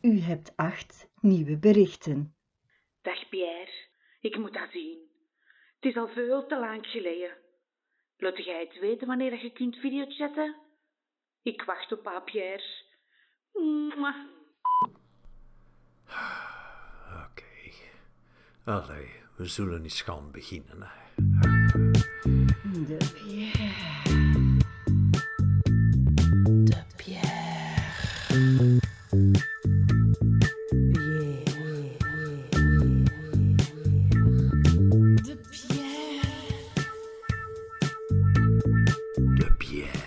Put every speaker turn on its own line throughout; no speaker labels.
U hebt acht nieuwe berichten.
Dag Pierre, ik moet dat zien. Het is al veel te lang geleden. Laat jij het weten wanneer dat je kunt videochatten? Ik wacht op haar, Pierre. Mwah.
Oké. Allee, we zullen eens gaan beginnen. hè.
De Pierre.
De Pierre.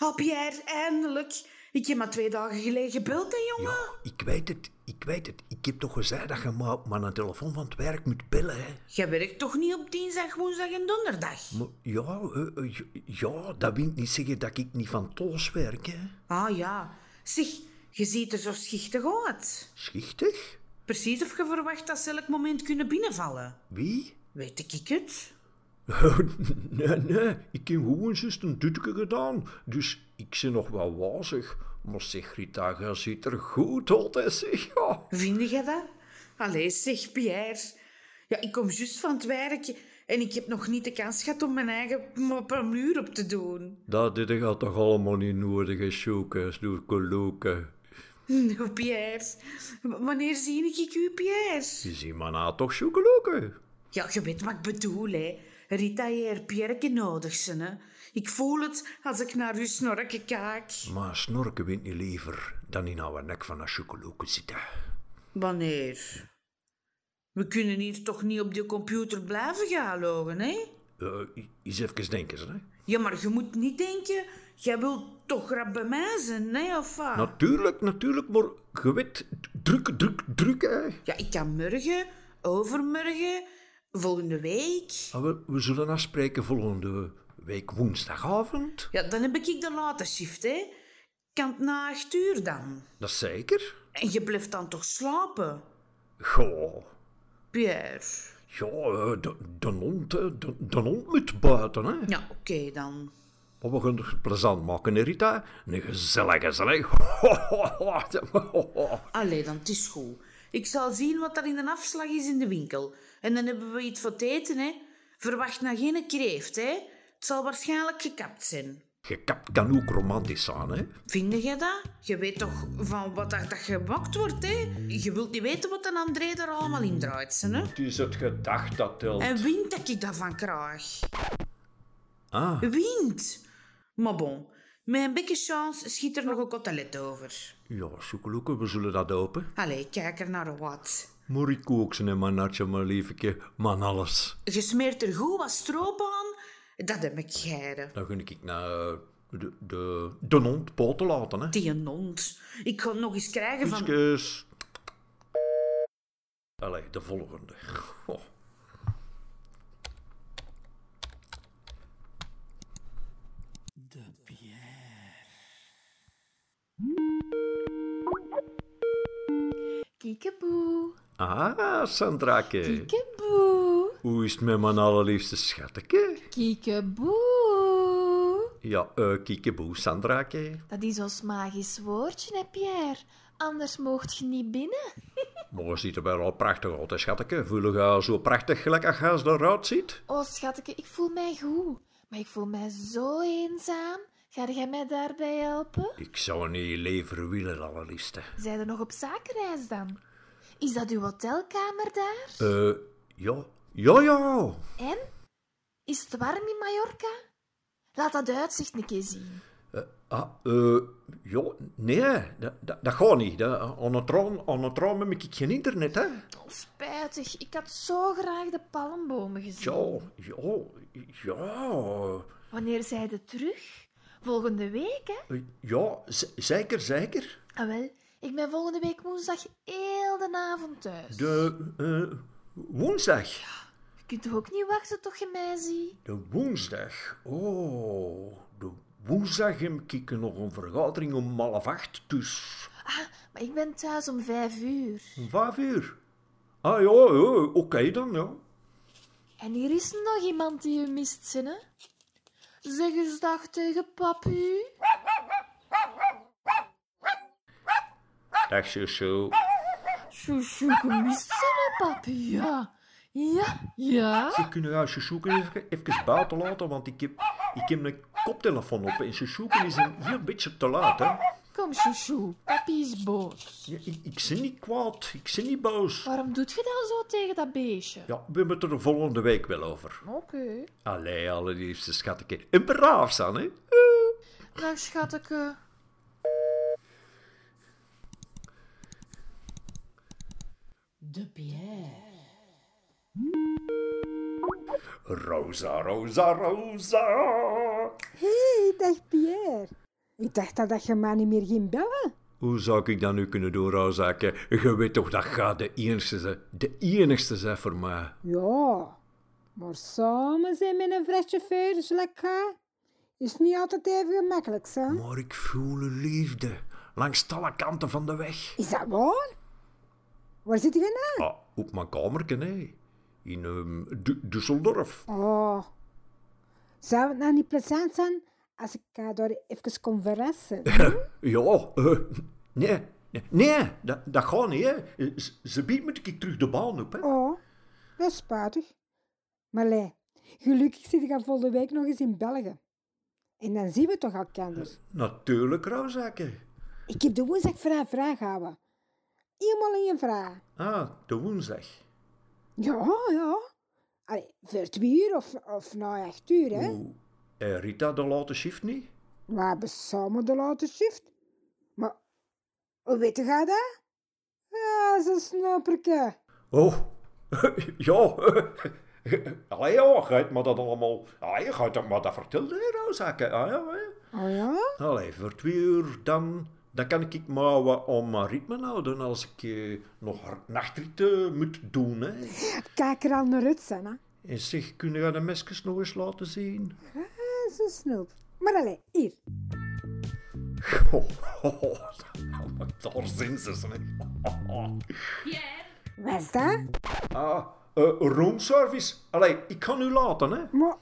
Oh, Pierre, eindelijk. Ik heb maar twee dagen geleden gebeld, hè, jongen.
Ja, ik weet het, ik weet het. Ik heb toch gezegd dat je maar, maar een telefoon van het werk moet bellen, hè?
Je werkt toch niet op dinsdag, woensdag en donderdag?
Maar ja, eh, eh, j- ja, dat wil niet zeggen dat ik niet van toos werk, hè?
Ah ja. Zeg, je ziet er zo schichtig uit.
Schichtig?
Precies of je verwacht dat ze elk moment kunnen binnenvallen.
Wie? Oh,
Weet ik het?
nee, nee, ik heb gewoon juist een dutje gedaan, dus ik zit nog wel wazig. Maar zeg, Rita, je ziet er goed uit, hè, zeg. Ja.
Vind je dat? Allee, zeg Pierre. Ja, ik kom juist van het werk en ik heb nog niet de kans gehad om mijn eigen parmuur op te doen.
Dat dit gaat toch allemaal niet nodig, hè, Sjoeke, snoerkeloeke.
Nou, Pierre. w- Wanneer zie ik u, Pierre?
Je ziet maar na toch, Sjoekeloeke?
Ja, je weet wat ik bedoel, hè. Rita heeft Pierre nodig, zijn, hè. Ik voel het als ik naar uw snorken kijk.
Maar snorken wint niet liever dan in haar nek van een chocolade zitten.
Wanneer? We kunnen hier toch niet op de computer blijven gaan logen, hè?
Eh, eens even denken, hè.
Ja, maar je moet niet denken... Jij wilt toch rap bij mij zijn, hè, of wat?
Natuurlijk, natuurlijk, maar je weet, druk, druk, druk, hè.
Ja, ik kan morgen, overmorgen, volgende week.
Ah, wel, we zullen afspreken volgende week woensdagavond.
Ja, dan heb ik de late shift, hè. Kan het na acht uur dan?
Dat is zeker?
En je blijft dan toch slapen,
Goh.
Pierre?
Ja, eh, de, de, hond, eh, de, de hond moet buiten, hè.
Ja, oké dan.
Maar we gaan het plezant maken, hè, Rita. Een gezellig, gezellig.
Allee, dan, het is goed. Ik zal zien wat er in de afslag is in de winkel. En dan hebben we iets voor te eten, hè. Verwacht nou geen kreeft, hè. Het zal waarschijnlijk gekapt zijn.
Gekapt kan ook romantisch zijn, hè.
Vind je dat? Je weet toch van wat dat, dat gebakt wordt, hè? Je wilt niet weten wat een André er allemaal in draait, hè?
Het is het gedacht dat telt.
En wind dat ik daarvan krijg.
Ah,
Wind! Maar bon, met een beetje chance schiet er nog een kotelet over.
ja, Soekeloeken, we zullen dat open.
Allee, kijk er naar wat.
Maar ik kook ze in mijn natje, mijn liefje, man alles.
Je smeert er goed wat stroop aan, dat heb ik geire.
Dan gun ik naar eh, de, de, de hond poot te laten, hè.
Die een hond. Ik ga hem nog eens krijgen van...
Kuskus. Allee, de volgende. Goh.
Kiekeboe.
Ah, Sandrake.
Kiekeboe.
Hoe is het met mijn allerliefste schatteke?
Kiekeboe.
Ja, eh kiekeboe, Sandrake.
Dat is ons magisch woordje, hè, Pierre. Anders moogt je niet binnen.
Maar ziet er wel al prachtig uit, hè, schatteke. Voel je haar zo prachtig gelijk als je eruit ziet?
Oh, schatje, ik voel mij goed. Maar ik voel mij zo eenzaam. Ga jij mij daarbij helpen?
Ik zou niet leven willen, allerliefste.
Zijn er nog op zakenreis dan? Is dat uw hotelkamer daar?
Eh, ja. Ja, ja.
En? Is het warm in Mallorca? Laat dat uitzicht een keer zien.
Ah, eh, ja, nee, dat, dat, dat gaat niet. Dat, aan het raam- aan het raam heb ik geen internet, hè.
Oh, spijtig, ik had zo graag de palmbomen gezien.
Ja, ja, ja.
Wanneer zij de terug? Volgende week, hè?
Eh, Ja, z- zeker, zeker.
Ah, wel, ik ben volgende week woensdag heel de avond thuis.
De eh, woensdag.
Je kunt toch ook niet wachten tot je mij ziet?
De woensdag. Oh, de woensdag heb ik nog een vergadering om half acht, dus
Ah, maar ik ben thuis om vijf uur.
om vijf uur. Ah ja, ja, oké dan, ja.
En hier is nog iemand die u mist, Zinne. Zeg eens dag tegen papu.
Dag, zo.
Sjoe, gemist, Zinne, papu, ja. Ja, ja.
Ze kunnen gaan Shushuken even, even buiten laten, want ik heb, ik heb een koptelefoon op en Shushuken is een heel beetje te laat, hè.
Kom, Sjoe, papi is boos.
Ja, ik, ik zit niet kwaad, ik zit niet boos.
Waarom doet je dan zo tegen dat beestje?
Ja, we hebben het er de volgende week wel over.
Oké.
Allee, allerliefste schatje. En braaf zijn, hè.
Dag, schatteke.
De Pierre.
Rosa, Rosa, Rosa.
Hé, dag Pierre. Ik dacht al dat je mij niet meer ging bellen.
Hoe zou ik dat nu kunnen doen, Rosaakje? Je weet toch dat gaat de enigste zijn. De enigste zijn voor mij.
Ja, maar samen zijn met een flesje vuur, lekker. Is niet altijd even gemakkelijk, hè?
Maar ik voel liefde. Langs alle kanten van de weg.
Is dat waar? Waar zit je nou?
Ah, op mijn kamerken, hè. In ehm, Du- Düsseldorf.
Oh. Zou het nou niet plezant zijn als ik haar daar even kon verrassen?
Ja, eh, nee. nee, Nee, dat, dat gaat niet, hè. Z- Ze biedt me ik terug de baan op, hè.
Oh, dat is spijtig. Maar lei, gelukkig zit ik volgende week nog eens in België. En dan zien we toch elkaar. dus.
Natuurlijk, Rosaakje.
Ik heb de woensdag vrij vraag houden. Eenmaal één vraag.
Ah, de woensdag.
Ja, ja. Allee, voor twee uur of, of na acht uur, hè.
Hoe? En Rita de late shift niet?
We hebben samen de late shift. Maar, hoe weet jij dat? Ja, zo'n snapperke.
Oh, ja. Allee, ja, gaat maar dat allemaal... Allee, gaat dat maar dat vertelde, hè, Rosakke. Ah, ja, hè.
Oh ja?
Allee, voor twee uur dan... Dan kan ik maar wat om mijn ritme houden als ik eh, nog hard- nachtritten moet doen, hè.
Kijk er al naar uit, zijn, hè.
En zeg, kunnen we de mesjes nog eens laten zien?
Ja, Zo'n snoep. Maar allee, hier.
Oh, oh, oh, daar zijn ze, zeg.
Wat is dat?
Ah, eh, roomservice. Allee, ik kan u laten, hè.
Maar,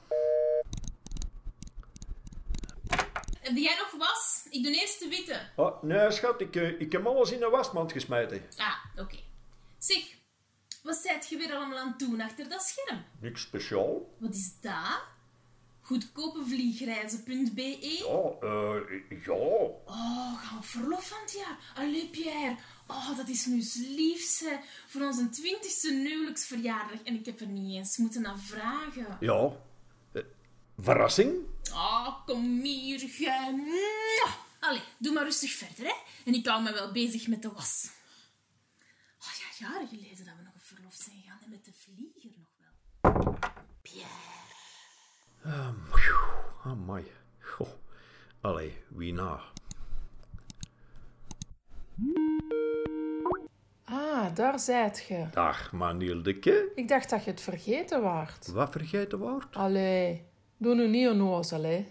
Heb jij nog was? Ik doe eerst de witte.
Ah, nee, schat, ik, eh, ik heb alles in de wasmand gesmeten.
Ah, oké. Zeg, wat zijt je weer allemaal aan het doen achter dat scherm?
Niks speciaal.
Wat is dat? Goedkopevliegreizen.be?
Ja, eh, ja.
Oh, gaan we op verlof van het jaar. Allee, Pierre. Oh, dat is nu het liefste voor onze twintigste huwelijksverjaardag. En ik heb er niet eens moeten naar vragen.
Ja. Eh, verrassing?
Oh, kom hier, gij. Mwah. Allee, doe maar rustig verder, hè. En ik hou me wel bezig met de was. Oh ja, jaren geleden dat we nog op verlof zijn gegaan. En met de vlieger nog wel.
Amai. Goh. Allee, wie na?
Ah, daar zijt je.
Dag, Manielke.
Ik dacht dat je het vergeten waart. Ah.
Wat vergeten wordt?
Allee, doe nu niet onnozel, hè.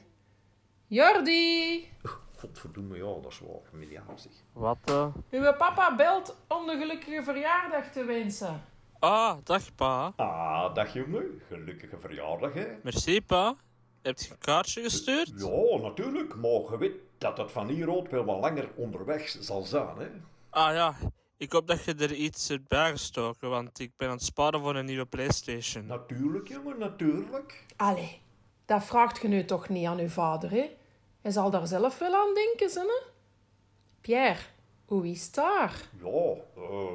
Jordi!
Godverdomme, ja, dat is waar. Miljaarstig.
Wat? eh?
Uw papa belt om de gelukkige verjaardag te wensen.
Ah, dag pa.
Ah, dag jongen. Gelukkige verjaardag, hè.
Merci pa. Heb je een kaartje gestuurd?
Ja, natuurlijk. Maar je weet dat het van hieruit wel wat langer onderweg zal zijn, hè.
Ah ja, ik hoop dat je er iets hebt bijgestoken, want ik ben aan het sparen voor een nieuwe Playstation.
Natuurlijk, jongen, natuurlijk.
Allee, dat vraagt je nu toch niet aan uw vader, hè? Hij zal daar zelf wel aan denken, zinne. Pierre, hoe is het daar?
Ja, eh,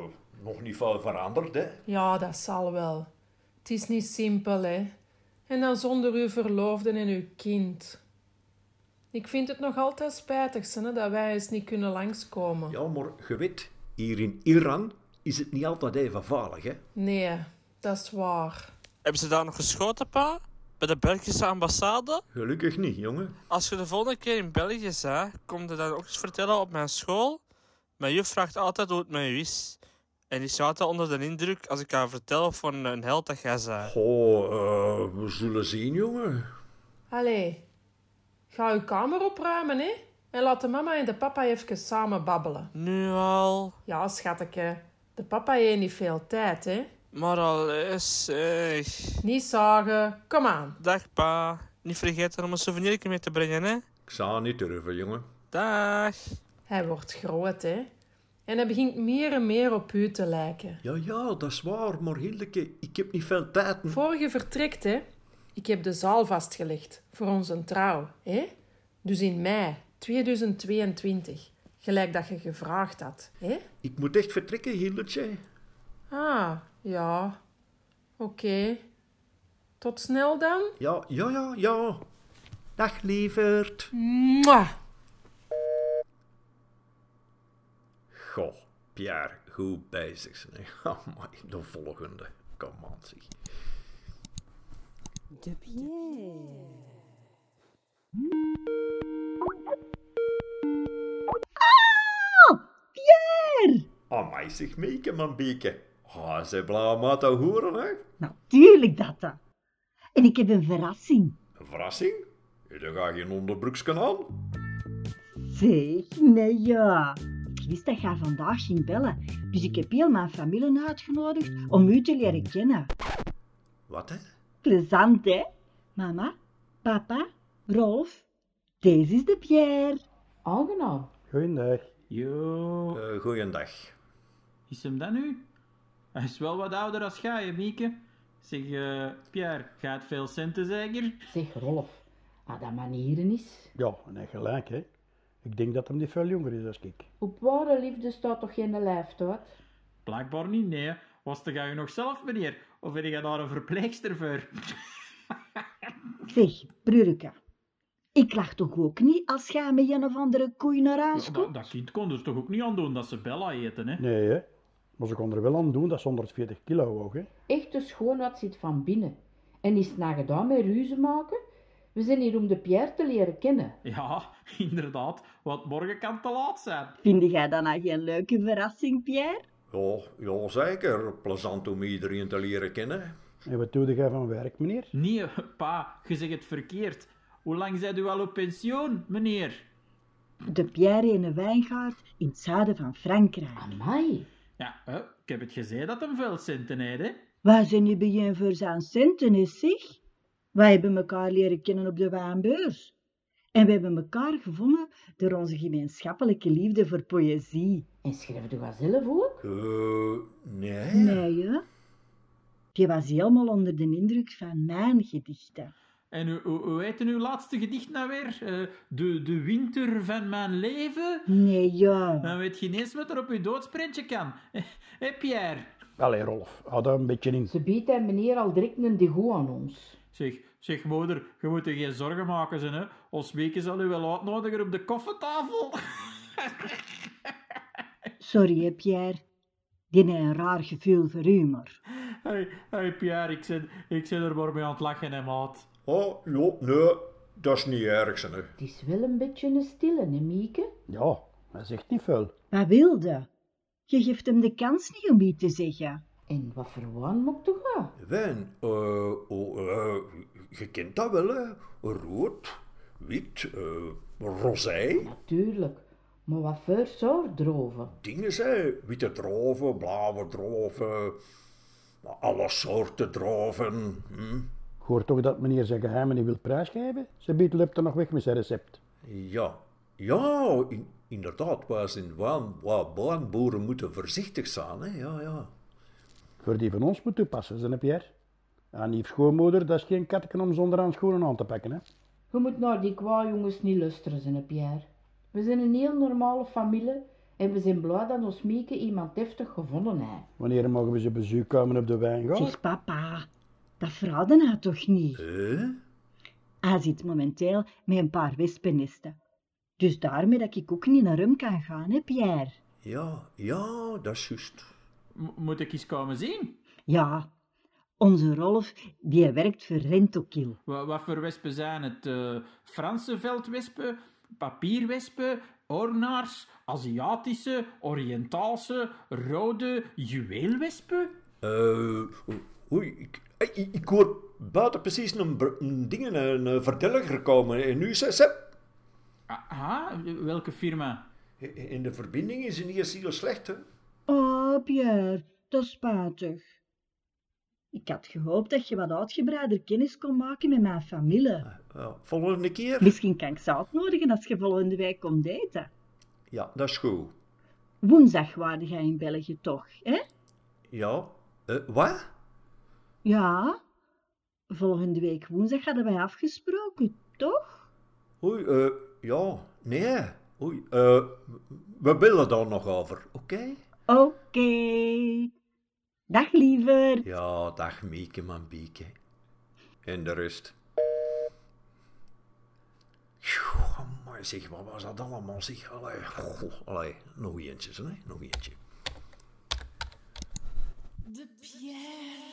nog niet veel veranderd, hè.
Ja, dat zal wel. Het is niet simpel, hè. En dan zonder uw verloofde en uw kind. Ik vind het nog altijd spijtig, hè, dat wij eens niet kunnen langskomen.
Ja, maar je weet, hier in Iran is het niet altijd even veilig, hè.
Nee, dat is waar.
Hebben ze daar nog geschoten pa? Bij de Belgische ambassade?
Gelukkig niet, jongen.
Als je de volgende keer in België bent, kom je dan ook eens vertellen op mijn school. Mijn juf vraagt altijd hoe het met u is. En die is altijd onder de indruk als ik haar vertel van een held dat jij bent.
Goh, eh, we zullen zien, jongen.
Allee, ga uw kamer opruimen, hè. En laat de mama en de papa even samen babbelen.
Nu al.
Ja, schatje, De papa heeft niet veel tijd, hè?
Maar al is... zeg.
Niet zagen, kom aan.
Dag, pa. Niet vergeten om een souvenirje mee te brengen, hè.
Ik zou niet durven, jongen.
Dag.
Hij wordt groot, hè? En hij begint meer en meer op u te lijken.
Ja, ja, dat is waar, maar Hildeke, ik heb niet veel tijd.
Vorige vertrekt, hè? Ik heb de zaal vastgelegd voor onze trouw, hè? Dus in mei 2022. Gelijk dat je gevraagd had, hè?
Ik moet echt vertrekken, Hildetje.
Ah, ja. Oké. Tot snel dan.
Ja, ja, ja, ja. Dag, lieverd.
Mwah.
Goh, Pierre, goed bezig. zeg. Amai, de volgende. Kom aan, zeg.
De Pierre.
Amai, zeg, meeke, man, beke. Ah, ze blauw maar te horen, hè.
Natuurlijk Nou, dat dat. En ik heb een verrassing.
Een verrassing? Je dan ga je geen onderbroeksken aan.
Zeg, nee ja. Ik wist dat jij vandaag ging bellen, dus ik heb heel mijn familie uitgenodigd om u te leren kennen.
Wat, hè?
Plezant, hè? Mama, papa, Rolf, deze is de Pierre.
Aangenaam.
Goeiedag. Yo,
Eh, goeiedag.
is hem dat nu? Hij is wel wat ouder als jij, hè, Mieke? Zeg, eh, Pierre, gaat veel centen zeker?
Zeg Rolf, als dat manieren is.
Ja, en hij gelijk, hè. Ik denk dat hem niet veel jonger is als ik.
Op ware liefde staat toch geen lijf, hoor?
Blijkbaar niet, nee. Was te ga je nog zelf, meneer? Of ben je daar een verpleegster voor?
Zeg, Brurka, ik lach toch ook niet als jij met een of andere koei naar huis
dat,
komt?
dat kind kon er toch ook niet aan doen dat ze Bella eten, hè? Nee, hè. Maar ze kon er wel aan doen, dat is 140 kilo hoog, hè.
Echte schoonheid dus zit van binnen. En is het nagedaan met ruzie maken? We zijn hier om de Pierre te leren kennen.
Ja, inderdaad. Want morgen kan te laat zijn.
Vind jij dan nou geen leuke verrassing, Pierre?
Ja, ja, zeker. Plezant om iedereen te leren kennen.
En wat doe jij van werk, meneer?
Nee, pa, je zegt het verkeerd. Hoe lang bent u al op pensioen, meneer?
De Pierre in een wijngaard in het zuiden van Frankrijk.
Amai.
Ja, hè, ik heb het gezegd dat hem veel centen heeft, hè?
Waar zijn nu begin voor zijn centen, is zich? Wij hebben elkaar leren kennen op de Waanbeurs. En we hebben elkaar gevonden door onze gemeenschappelijke liefde voor poëzie.
En schrijf je dat zelf ook?
Eh, nee.
Nee, hè? Je was helemaal onder de indruk van mijn gedichten.
En hoe, hoe, hoe heette uw laatste gedicht nou weer? Eh, de, de winter van mijn leven?
Nee, ja.
Dan weet je niet eens wat er op uw doodsprintje kan. Hé, Pierre.
Allee, Rolf, hou daar een beetje in.
Ze biedt hij meneer al direct een degoe aan ons.
Zeg, zeg moeder, je moet je geen zorgen maken, ze, hè. Ons weken zal u wel uitnodigen op de koffietafel.
Sorry, hè, Pierre. Die heeft een raar gevoel voor humor.
hey, hey, Pierre, ik zit, ik zit er maar mee aan het lachen, hè, maat.
Oh, ja, nee. Dat is niet erg, hè.
Het is wel een beetje een stille, hè, Mieke?
Ja, hij zegt niet veel.
Wat wilde? Je geeft hem de kans niet om iets te zeggen.
En wat voor waan moet toch gaan?
Wijn, eh, oh, eh, je kent dat wel, hè? Rood, wit, eh rozij.
Natuurlijk. Maar wat voor soort droven?
Dingen, hè? Witte droven, blauwe droven, alle soorten droven. Hm?
Ik hoor toch dat meneer zijn geheimen niet wil prijsgeven? Ze biedt loopt er nog weg met zijn recept.
Ja, ja, in, inderdaad, waar zijn waan, waar baanboeren moeten voorzichtig zijn, hè? Ja, ja.
Voor die van ons moet toepassen, zijn hè, Pierre? Aan die schoonmoeder, dat is geen katteken om zonder aan schoenen aan te pakken, hè?
Je moet naar die kwa jongens niet luisteren, zijn, hè, Pierre. We zijn een heel normale familie en we zijn blij dat ons Mieke iemand heftig gevonden heeft.
Wanneer mogen we ze bezoek komen op de wijngaard?
Zeg, papa, dat verhaalde hij toch niet?
Hè?
Hij zit momenteel met een paar wespennesten. Dus daarmee dat ik ook niet naar hem kan gaan, hè, Pierre?
Ja, ja, dat is juist.
M- moet ik eens komen zien?
Ja, onze Rolf, die werkt voor Rentokil.
Wa- wat voor wespen zijn het? eh Franse veldwespen, papierwespen, ornaars, Aziatische, Oriëntaalse, rode, juweelwespen?
Eh, oei, ik, eh, ik, ik hoor buiten precies een, br- een ding, een, eh, verteller komen. En nu zei Sepp,
Aha, welke firma?
en de verbinding is niet eens heel slecht, hè.
Oh, Pierre, dat is spijtig. Ik had gehoopt dat je wat uitgebreider kennis kon maken met mijn familie.
Ja, volgende keer?
Misschien kan ik ze uitnodigen als je volgende week komt eten.
Ja, dat is goed.
Woensdag waarde jij in België toch, hè?
Ja. Eh, wat?
Ja. Volgende week woensdag hadden wij afgesproken, toch?
Oei, eh, ja, nee. Oei, eh, we bellen daar nog over, oké?
Oké. Dag, liever.
Ja, dag Mieke, man Bieke. En de rust. Tjoe, maar zeg, wat was dat allemaal? Zeg, allee, goh, allee, nog eentje, hè? Nog eentje.
De Pierre.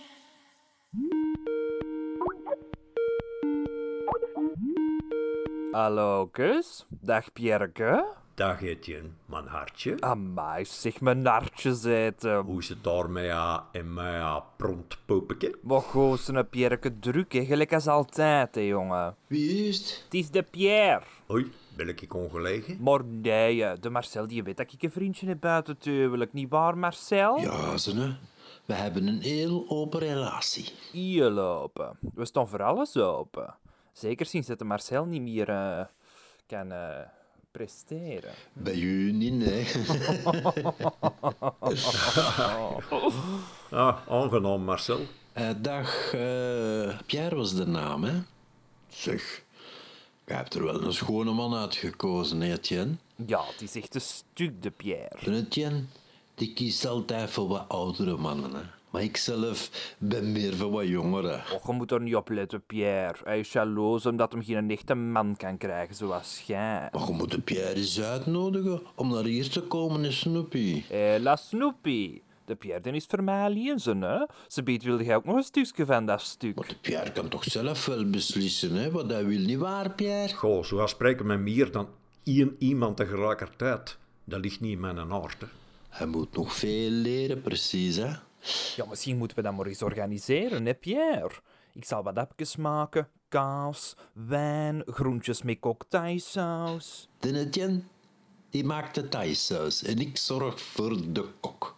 Hallo, kus. Dag, Pierke.
Dag, Etienne. Mijn hartje.
Ah.
Amai, zeg mijn hartje zitten.
Hoe is het daar met jou en ah, met jou prontpoepeke?
Maar goh, zijn Pierke druk, hè. Gelijk als altijd, hè, jongen.
Wie is het?
Het is de Pierre.
Oei, ben ik ongelegen?
Maar nee, hè, de Marcel die weet dat ik een vriendje heb buiten het huwelijk. Niet waar, Marcel?
Ja, ze, hè. we hebben een heel open relatie.
Hier lopen. We staan voor alles open. Zeker sinds dat de Marcel niet meer eh, kan eh, presteren.
Bij u niet, nee.
ah, aangenaam, Marcel.
Eh, dag, eh, Pierre was de naam, hè? Zeg, je hebt er wel een schone man uitgekozen, hè, Etienne?
Ja, het is echt een stuk, de Pierre.
En Etienne, die kiest altijd voor wat oudere mannen, hè? Maar ik zelf ben meer voor wat jongeren.
Och, je moet er niet op letten, Pierre. Hij is jaloers omdat hem geen echte man kan krijgen zoals jij.
Maar je moet de Pierre eens uitnodigen om naar hier te komen, hè, Snoopy.
Hé, la Snoopy. De Pierre die is voor mij alleen zijn, hè. Ze biedt wilde jij ook nog een stukje van dat stuk.
Pierre kan toch zelf wel beslissen, hè? Wat hij wil, niet waar, Pierre?
Goh, zo spreken met meer dan één iemand tegelijkertijd. Dat ligt niet in mijn aard, hè.
Hij moet nog veel leren, precies, hè?
Ja, misschien moeten we dat maar eens organiseren, hè, Pierre? Ik zal wat appjes maken, kaas, wijn, groentjes met cocktailsaus.
De Etienne, die maakt de thaïsaus en ik zorg voor de kok.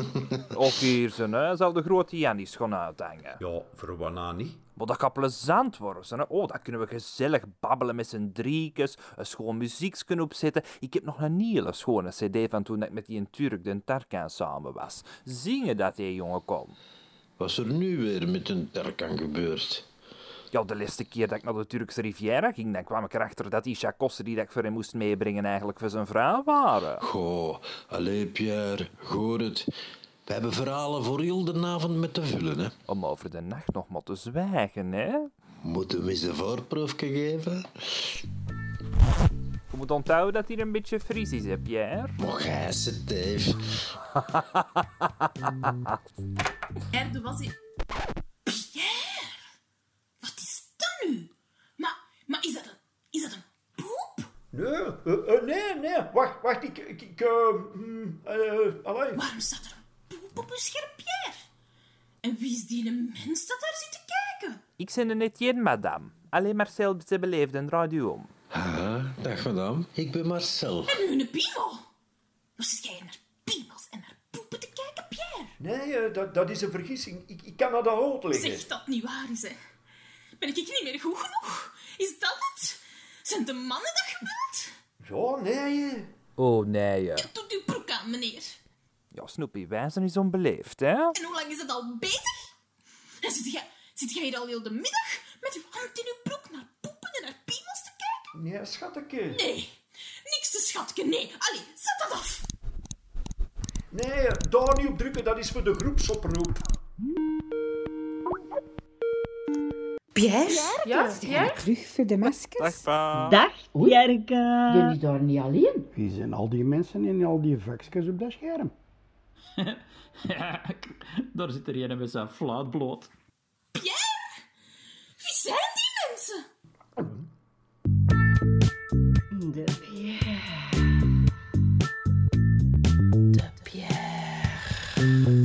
Of hier zijn, hè, zal de grote Jannis gaan uithangen.
Ja, voor wanneer niet?
Maar dat gaat plezant worden, hè. Oh, dat kunnen we gezellig babbelen met z'n driekes, een schoon muziekje opzetten. Ik heb nog een hele schone cd van toen ik met die Turk, de Tarkan, samen was. Zingen dat, hé, jongen, kom.
Wat is er nu weer met een terkan gebeurd?
Ja, de laatste keer dat ik naar de Turkse Riviera ging, dan kwam ik erachter dat die chakossen die dat ik voor hem moest meebrengen eigenlijk voor zijn vrouw waren.
Goh, allee Pierre, hoor het. We hebben verhalen voor heel de avond met te vullen, hè.
Om over de nacht nog maar te zwijgen, hè.
Moeten we eens een voorproefje geven?
Je moet onthouden Oh, dat hier een beetje fris is, hè, Pierre?
Mocht hij ze, Dave.
Erde was in. Pierre! Wat is dat nu? Maar, maar is dat een. Is dat een.
Nee, eh, eh, nee, nee. Wacht, wacht. Ik, ik, ik eh, mm, eh, allee.
Waarom staat er een poep op een scherp Pierre? En wie is die een mens dat daar zit te kijken?
Ik ben er net geen madame. Alleen Marcel, ze beleefd en draait u om.
Haha, dag madame. Ik ben Marcel.
En nu een piemel! Waar zit jij naar piemels en naar poepen te kijken, Pierre?
Nee, eh, dat, dat is een vergissing. Ik, ik kan naar de hout liggen.
Zeg dat niet waar is, hè? Ben ik niet meer goed genoeg? Is dat het? Zijn de mannen dat gebeurd?
Ja, nee. eh.
Oh, nee, ja.
Doet uw broek aan, meneer.
Ja, Snoepie, wijzen is onbeleefd, hè?
En hoe lang is het al bezig? En zit jij, zit jij hier al heel de middag met uw hand in uw broek naar poepen en naar piemels te kijken?
Nee, schatje.
Nee, niks te schatke, nee. Allee, zet dat af.
Nee, eh, daar niet op drukken. Dat is voor de groepsoproep.
Pierre?
Ja, ja. Terug voor de maskers. Dag,
Jerke.
Jullie
daar niet alleen?
Wie zijn al die mensen in al die vakjes op dat scherm?
Ja, daar zit er een met zijn fluit bloot.
Pierre? Wie zijn die mensen?
De Pierre.
De Pierre.